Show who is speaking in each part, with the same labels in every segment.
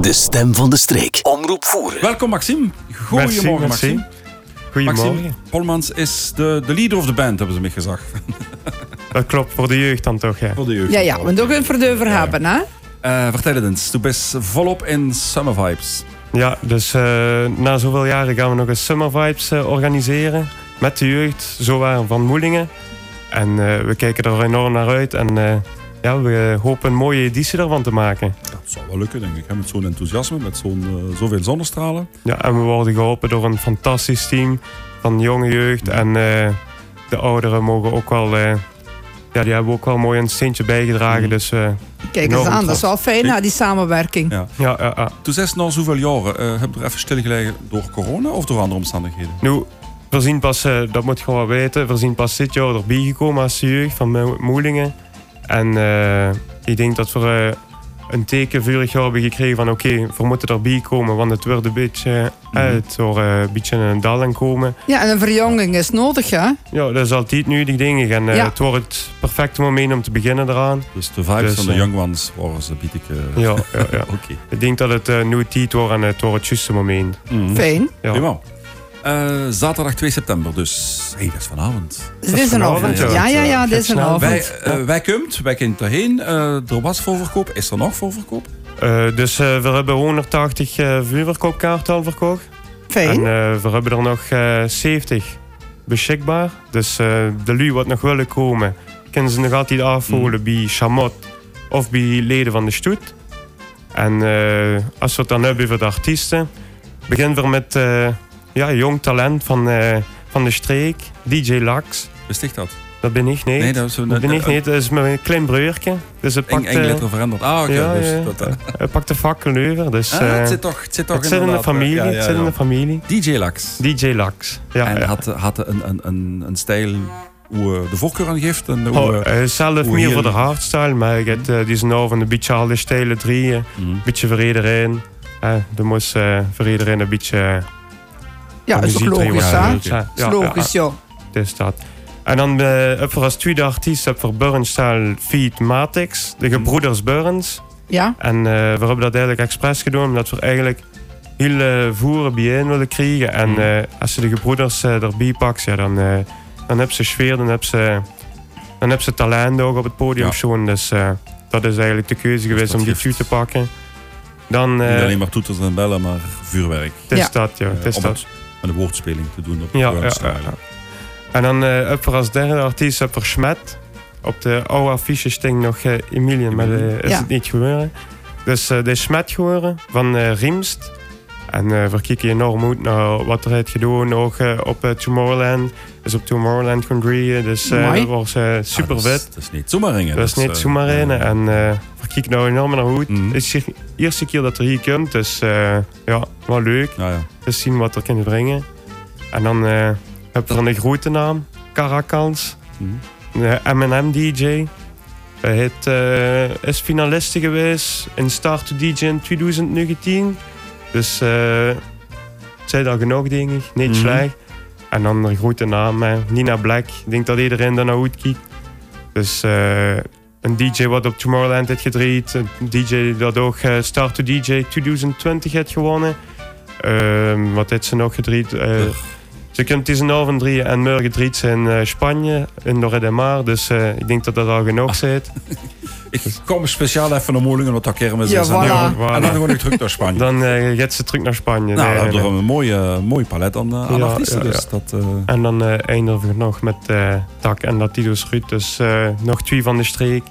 Speaker 1: De stem van de streek. Omroep voeren.
Speaker 2: Welkom Maxime.
Speaker 3: Merci,
Speaker 2: Goedemorgen
Speaker 3: merci.
Speaker 2: Maxime. Maxime
Speaker 3: Goedemorgen.
Speaker 2: Polmans is de, de leader of the band, hebben ze mij gezegd.
Speaker 3: Dat klopt, voor de jeugd dan toch, ja.
Speaker 2: Voor de jeugd.
Speaker 4: Ja, ja, want ook een verdeuver hebben, hè?
Speaker 2: Eh, vertel het eens, je bent volop in summer vibes.
Speaker 3: Ja, dus eh, na zoveel jaren gaan we nog een Summer Vibes eh, organiseren. Met de jeugd, zo waren van Moelingen. En eh, we kijken er enorm naar uit. En eh, ja, we hopen een mooie editie ervan te maken.
Speaker 2: Dat zou wel lukken, denk ik. hè, Met zo'n enthousiasme, met zo'n, eh, zoveel zonnestralen.
Speaker 3: Ja, en we worden geholpen door een fantastisch team van jonge jeugd. En eh, de ouderen mogen ook wel... eh, ja, die hebben ook wel mooi een steentje bijgedragen.
Speaker 2: Mhm.
Speaker 3: Dus eh,
Speaker 4: Kijk eens
Speaker 3: Enorm
Speaker 4: aan, dat is
Speaker 3: trots.
Speaker 4: wel fijn, hè, die samenwerking.
Speaker 2: Ja.
Speaker 3: ja, ja, ja.
Speaker 2: Toen zes na zoveel jaren, eh heb je er even stilgelegen door corona of door andere omstandigheden?
Speaker 3: Nu, voorzien pas, eh, dat moet je gewoon weten, voorzien pas dit jaar erbij gekomen als de jeugd van Mo- Moelingen. En eh, ik denk dat we eh, een teken vurig jaar hebben gekregen van oké, we moeten erbij komen, want het wordt een beetje, eh,
Speaker 2: Mhm.
Speaker 3: het wordt, eh, een beetje een dal aan komen.
Speaker 4: Ja, en een verjonging is nodig, hè?
Speaker 3: Ja, dat is altijd nu die dingen. En eh,
Speaker 4: Ja.
Speaker 3: het wordt het perfecte moment om te beginnen eraan.
Speaker 2: Dus de vibes
Speaker 3: Dus,
Speaker 2: van de
Speaker 3: eh,
Speaker 2: young ones waren ze bied ik... eh,
Speaker 3: Ja, ja, ja.
Speaker 2: Oké.
Speaker 3: ik denk dat het eh, nu tijd wordt en het wordt het juiste moment.
Speaker 2: Mhm.
Speaker 4: Fijn.
Speaker 3: Ja.
Speaker 2: Prima. Eh, zaterdag 2 september, dus hey, dat is vanavond.
Speaker 4: Dus dit is een
Speaker 3: vanavond,
Speaker 4: avond.
Speaker 3: ja.
Speaker 4: Ja, ja, ja, dit is een
Speaker 3: Snel.
Speaker 4: avond.
Speaker 2: Wij, eh, wij kunt, wij kunt erheen. Eh, er was voorverkoop. Is er nog voorverkoop?
Speaker 3: Eh, dus eh, we hebben 180 eh vuurverkoopkaarten al verkocht. En
Speaker 4: Fijn.
Speaker 3: eh, we hebben er nog eh, 70 beschikbaar. Dus eh, de lui wat nog willen komen, kunnen ze nog altijd afvoeren bij Chamot of bij leden van de stoet. En eh, als we het dan hebben over de artiesten, beginnen we met eh, ja, jong talent van, eh, van de streek, DJ Lax.
Speaker 2: Besticht dat?
Speaker 3: Dat ben ik niet.
Speaker 2: dat is een
Speaker 3: dat ben ik niet, dat is mijn klein broertje. Dus hij
Speaker 2: Eng,
Speaker 3: pakt,
Speaker 2: eng
Speaker 3: eh,
Speaker 2: letter veranderd. Ah, oké.
Speaker 3: Ja,
Speaker 2: dus
Speaker 3: ja.
Speaker 2: dat, eh,
Speaker 3: hij pakt de fakkel over. Dus,
Speaker 2: ah,
Speaker 3: eh,
Speaker 2: het zit toch, het zit toch
Speaker 3: het zit in de
Speaker 2: inderdaad, eh,
Speaker 3: familie,
Speaker 2: ja, ja,
Speaker 3: het zit in
Speaker 2: ja.
Speaker 3: de familie.
Speaker 2: DJ Lax.
Speaker 3: DJ Lax. Ja,
Speaker 2: en
Speaker 3: ja.
Speaker 2: had, had een, een, een, een stijl hoe eh, de voorkeur aan geeft. En hoe,
Speaker 3: Oh,
Speaker 2: eh,
Speaker 3: eh, zelf
Speaker 2: hoe
Speaker 3: meer
Speaker 2: hier-
Speaker 3: voor de hardstyle, maar ik heb eh, die is nou van een beetje alle stijlen drieën. Een
Speaker 2: mhm.
Speaker 3: beetje voor iedereen. Eh, er moest eh, voor iedereen een beetje... eh,
Speaker 4: Ja, is ook
Speaker 3: muziek erin
Speaker 4: logisch,
Speaker 3: worden.
Speaker 4: hè?
Speaker 2: Ja,
Speaker 3: Ja,
Speaker 4: Is logisch, joh.
Speaker 3: dus dat. En dan eh, heb je als tweede artiest heb voor Burnstyle Feed Matix, de gebroeders Burns.
Speaker 4: Ja,
Speaker 3: En eh, we hebben dat eigenlijk expres gedaan, omdat we eigenlijk heel eh, voeren bijeen willen krijgen. En
Speaker 2: Mhm.
Speaker 3: eh, als je de gebroeders eh, erbij pakt, ja, dan, eh dan heb ze sfeer, dan heb ze, dan heb ze talent ook op het podium
Speaker 2: Ja.
Speaker 3: shown. Dus eh, dat is eigenlijk de keuze geweest
Speaker 2: dat
Speaker 3: om die
Speaker 2: geeft-
Speaker 3: view te pakken. Dan eh,
Speaker 2: Niet alleen maar toeters en bellen, maar vuurwerk.
Speaker 3: het is
Speaker 4: Ja.
Speaker 3: dat, ja. Het is
Speaker 2: Eh, om
Speaker 3: dat.
Speaker 2: het met een woordspeling te doen op
Speaker 3: Ja,
Speaker 2: de
Speaker 3: ja,
Speaker 2: Burns
Speaker 3: ja,
Speaker 2: stijl.
Speaker 3: ja. En dan eh heb er als derde artiest heb er Schmet. Op de oude affiche sting nog eh Emilien, maar eh, is
Speaker 4: Ja.
Speaker 3: het niet geworden. Dus eh dit is Schmet geworden van eh Riemst. En eh we kijken enorm uit naar wat er heeft gedaan. Ook eh, op eh, Tomorrowland. Dus op Tomorrowland kon drieën. Dus eh
Speaker 4: Mooi.
Speaker 3: dat was eh, super
Speaker 2: Ah, dat is-
Speaker 3: vet.
Speaker 2: Dat is niet zomaar ringen.
Speaker 3: Dat is niet
Speaker 2: eh,
Speaker 3: zomaar in. En eh we kijken nou enorm naar uit.
Speaker 2: Mhm.
Speaker 3: Het is de eerste keer dat er hier komt. Dus eh, ja, wel leuk
Speaker 2: ja, ja.
Speaker 3: eens zien wat er kunnen brengen. En dan eh heb je een grote naam, Karakans,
Speaker 2: Mhm.
Speaker 3: de M&M DJ. Hij heeft, eh, is finaliste geweest in Start to DJ in 2019. Dus eh, het zijn daar genoeg, denk ik. Niet
Speaker 2: Mhm.
Speaker 3: slecht. En dan een grote naam, eh, Nina Black. Ik denk dat iedereen daar naar uitkijkt. Dus eh, een DJ wat op Tomorrowland heeft gedraaid. Een DJ dat ook eh, Start to DJ 2020 heeft gewonnen. Ehm, wat heeft ze nog gedraaid? Eh,
Speaker 2: Ugh.
Speaker 3: ze komt tussen half en drie en morgen draait ze in eh, Spanje, in Lorre de Mar. Dus eh, ik denk dat dat al
Speaker 2: Ah.
Speaker 3: genoeg zit.
Speaker 2: Ik kom speciaal even naar Moelingen, wat dat kermis is.
Speaker 4: Ja,
Speaker 2: En dan
Speaker 4: voilà.
Speaker 2: gewoon- En dan
Speaker 3: Voilà.
Speaker 2: gewoon ik terug naar Spanje.
Speaker 3: Dan eh, gaat ze terug naar Spanje.
Speaker 2: Nou,
Speaker 3: Nee,
Speaker 2: we hebben
Speaker 3: nee.
Speaker 2: er een mooie, mooie palet aan, eh, aan
Speaker 3: Ja,
Speaker 2: artiesten.
Speaker 3: ja, ja.
Speaker 2: Dus dat, eh,
Speaker 3: En dan eh eindigen we nog met eh Tak en Latido's Ruud. Dus eh, nog twee van de streek.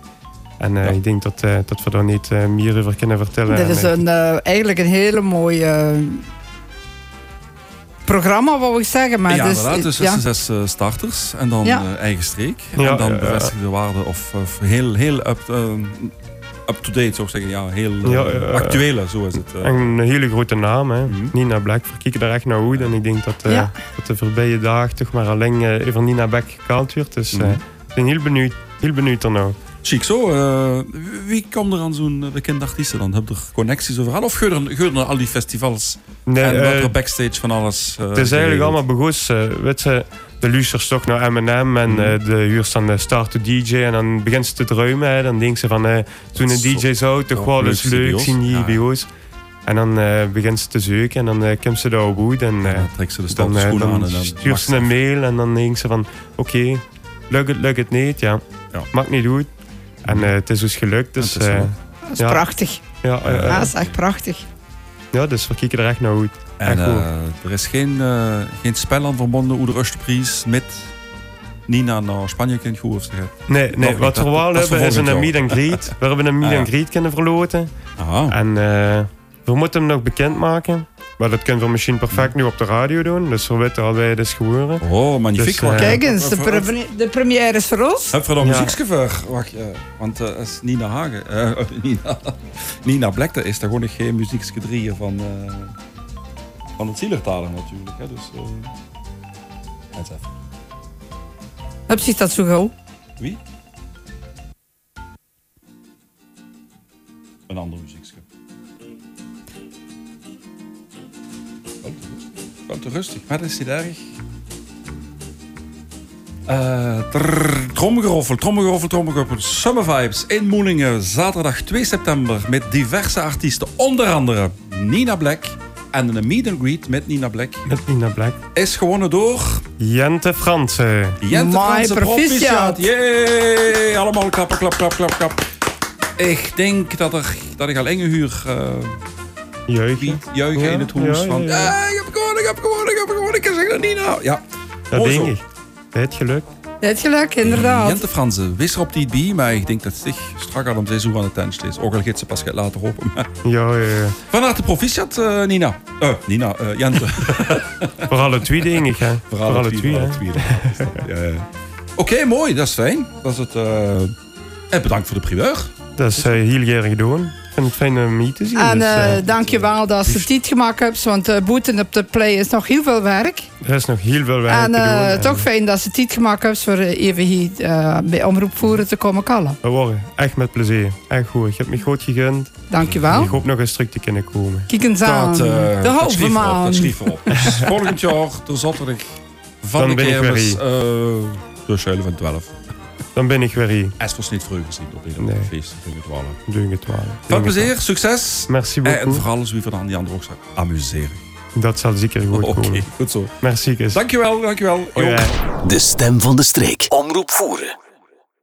Speaker 3: En eh,
Speaker 2: Ja.
Speaker 3: ik denk dat, eh, dat we daar niet eh, meer over kunnen vertellen.
Speaker 4: dit is
Speaker 3: En, eh,
Speaker 4: een, eh, eigenlijk een hele mooie eh, programma, wou ik zeggen. Maar
Speaker 2: ja,
Speaker 4: dus,
Speaker 2: inderdaad. Dus
Speaker 4: ja.
Speaker 2: zes, zes eh, starters en dan
Speaker 4: Ja.
Speaker 2: eh, eigen streek.
Speaker 3: Ja,
Speaker 2: en dan
Speaker 3: ja, ja.
Speaker 2: bevestigde waarden of, of heel, heel up, eh, up-to-date, zou ik zeggen. Ja, heel eh,
Speaker 3: Ja, ja, ja.
Speaker 2: actuele, zo is het. eh.
Speaker 3: een hele grote naam, hè.
Speaker 2: Mhm.
Speaker 3: Nina Black. We kijken daar echt naar uit. En ik denk dat, eh,
Speaker 4: Ja.
Speaker 3: dat de voorbije dag toch maar alleen eh even Nina Black gekaald werd. Dus eh,
Speaker 2: Mhm.
Speaker 3: ik ben heel benieuwd, heel benieuwd ernaar.
Speaker 2: Chic zo. eh, wie kwam er aan zo'n eh, bekende artiesten dan? Heb je er connecties overal? Of geur er, geur er naar al die festivals
Speaker 3: Nee,
Speaker 2: en wat
Speaker 3: eh,
Speaker 2: er backstage van alles? eh,
Speaker 3: Het is eigenlijk
Speaker 2: geregeld?
Speaker 3: allemaal begoes. eh, weet je, de luisters toch naar M&M en
Speaker 2: Mhm.
Speaker 3: eh, de huurs dan de start to DJ en dan begint ze te druimen. Hè. Dan denken ze van eh, toen
Speaker 2: Dat
Speaker 3: een
Speaker 2: is zo-
Speaker 3: DJ zou toch
Speaker 2: ja,
Speaker 3: wel
Speaker 2: leuk
Speaker 3: eens leuk
Speaker 2: CBO's.
Speaker 3: zien hier
Speaker 2: Ja, ja.
Speaker 3: bij ons. En dan eh, begint ze te zeuken en dan eh, komt ze daar op woed en eh,
Speaker 2: dan trekt ze de
Speaker 3: dan,
Speaker 2: stoute
Speaker 3: eh,
Speaker 2: schoenen
Speaker 3: dan
Speaker 2: aan en dan
Speaker 3: stuurt
Speaker 2: mag
Speaker 3: ze een mail en dan denkt ze van oké, lukt het, lukt het niet, ja.
Speaker 2: Ja.
Speaker 3: Maakt niet uit. En eh, het is dus gelukt, dus
Speaker 2: Het is
Speaker 3: eh,
Speaker 2: wel-
Speaker 4: Dat is
Speaker 3: Ja.
Speaker 4: prachtig.
Speaker 3: ja, eh,
Speaker 4: Ja,
Speaker 3: eh,
Speaker 4: dat is echt prachtig.
Speaker 3: ja, dus we kijken er echt naar uit.
Speaker 2: En
Speaker 3: Ja, cool.
Speaker 2: eh, er is geen, eh, geen spel aan verbonden hoe de Oostprijs met Nina naar Spanje kunt goed of ze gaat.
Speaker 3: Nee, nee
Speaker 2: niet,
Speaker 3: wat we
Speaker 2: dat-
Speaker 3: wel
Speaker 2: dat is
Speaker 3: hebben is
Speaker 2: volgend
Speaker 3: een
Speaker 2: jaar.
Speaker 3: meet and greet. We hebben een meet
Speaker 2: Ah, ja.
Speaker 3: and greet kunnen verloten.
Speaker 2: Aha.
Speaker 3: En eh, we moeten hem nog bekendmaken. Maar dat kunnen we misschien perfect nu op de radio doen. Dus we weten al wij dus geworden.
Speaker 2: Oh, magnifiek.
Speaker 3: Dus, eh,
Speaker 2: wacht.
Speaker 4: Kijk eens, de,
Speaker 2: Even- even-
Speaker 4: pre- de première is voor ons.
Speaker 2: Heb je dan
Speaker 3: Ja.
Speaker 2: muzieksgevecht? Wacht, eh, want eh, als Nina Hagen, eh, Nina, Nina Black, dat is daar gewoon geen muzieksgedrieën van, eh, van het zielertaler natuurlijk. Hè? Dus, eh, het is even.
Speaker 4: Heb je dat zo gauw?
Speaker 2: Wie? Een ander muziekschip. Wel te rustig. Wel te rustig, maar Oh, dat is niet erg. Eh, trrr, tromgeroffel, tromgeroffel, tromgeroffel. Summer Vibes in Moelingen, zaterdag 2 september. Met diverse artiesten, onder andere Nina Black. En een meet and greet met Nina Black
Speaker 3: Met Nina Black.
Speaker 2: is gewonnen door...
Speaker 3: Jente Fransen.
Speaker 2: Jente
Speaker 4: My
Speaker 2: Fransen,
Speaker 4: proficiat.
Speaker 2: proficiat. Jee! Allemaal klappen, klap, klap, klap, klap. Ik denk dat, er, dat ik al enge huur eh
Speaker 3: Jeugd.
Speaker 2: liet juichen
Speaker 3: Ja,
Speaker 2: in het hoes.
Speaker 3: ja, ja,
Speaker 2: van,
Speaker 3: ja.
Speaker 2: "Ah, ik heb gewonnen, ik heb gewonnen, ik heb gewonnen. Ik zeg dat niet nou. Ja.
Speaker 3: Dat
Speaker 2: Mooi zo.
Speaker 3: denk ik. Bij het geluk.
Speaker 4: Net geluk, inderdaad.
Speaker 2: Jente Fransen, wist er op die bij, maar ik denk dat zich strak al om 6 uur aan de tent is. Ook al gaat ze pas later hopen.
Speaker 3: Ja, ja, ja.
Speaker 2: Van harte proficiat, eh, Nina. Eh, Nina, eh, Jente.
Speaker 3: Vooral het twee denk ik, hè. Vooral het twee, hè.
Speaker 2: Ja, ja. Oké, mooi, dat is fijn. Dat is het. eh, En bedankt voor de primeur.
Speaker 3: Dat is eh, heel graag gedaan. Ik vind het fijn om hier te zien.
Speaker 4: En
Speaker 3: dus, eh,
Speaker 4: eh dankjewel dat ze dit gemaakt hebt, want eh, boeten op de play is nog heel veel werk.
Speaker 3: er is nog heel veel werk
Speaker 4: en
Speaker 3: te doen.
Speaker 4: eh,
Speaker 3: en
Speaker 4: toch fijn dat ze dit gemaakt hebben voor eh, even hier eh, bij Omroep Voeren te komen kallen.
Speaker 3: We worden echt met plezier. Echt goed. Je hebt me goed gegund.
Speaker 4: Dankjewel.
Speaker 3: Ik hoop nog eens terug te kunnen komen.
Speaker 4: Kijk eens aan.
Speaker 2: Dat, eh,
Speaker 4: de
Speaker 2: dat schreef
Speaker 4: halve
Speaker 2: erop,
Speaker 4: maan.
Speaker 2: Dat schreef erop. Dus volgend jaar, de zaterdag van
Speaker 3: Dan
Speaker 2: de
Speaker 3: ben ik weer
Speaker 2: kermis.
Speaker 3: hier.
Speaker 2: eh, Tussen 11 en 12.
Speaker 3: Dan ben ik weer hier.
Speaker 2: Het was niet vroeger gezien op ieder
Speaker 3: Nee.
Speaker 2: feest. dat vind ik het wel, hè.
Speaker 3: Doe het wel.
Speaker 2: Veel plezier, Eh, succes.
Speaker 3: Merci
Speaker 2: En
Speaker 3: beaucoup.
Speaker 2: vooral als wie van aan die andere ook zegt, amuseren.
Speaker 3: Dat zal zeker goed
Speaker 2: Oké,
Speaker 3: komen.
Speaker 2: goed zo.
Speaker 3: Merci, Chris.
Speaker 2: Dankjewel, dankjewel. Jo.
Speaker 3: Ja.
Speaker 1: De stem van de streek. Omroep voeren.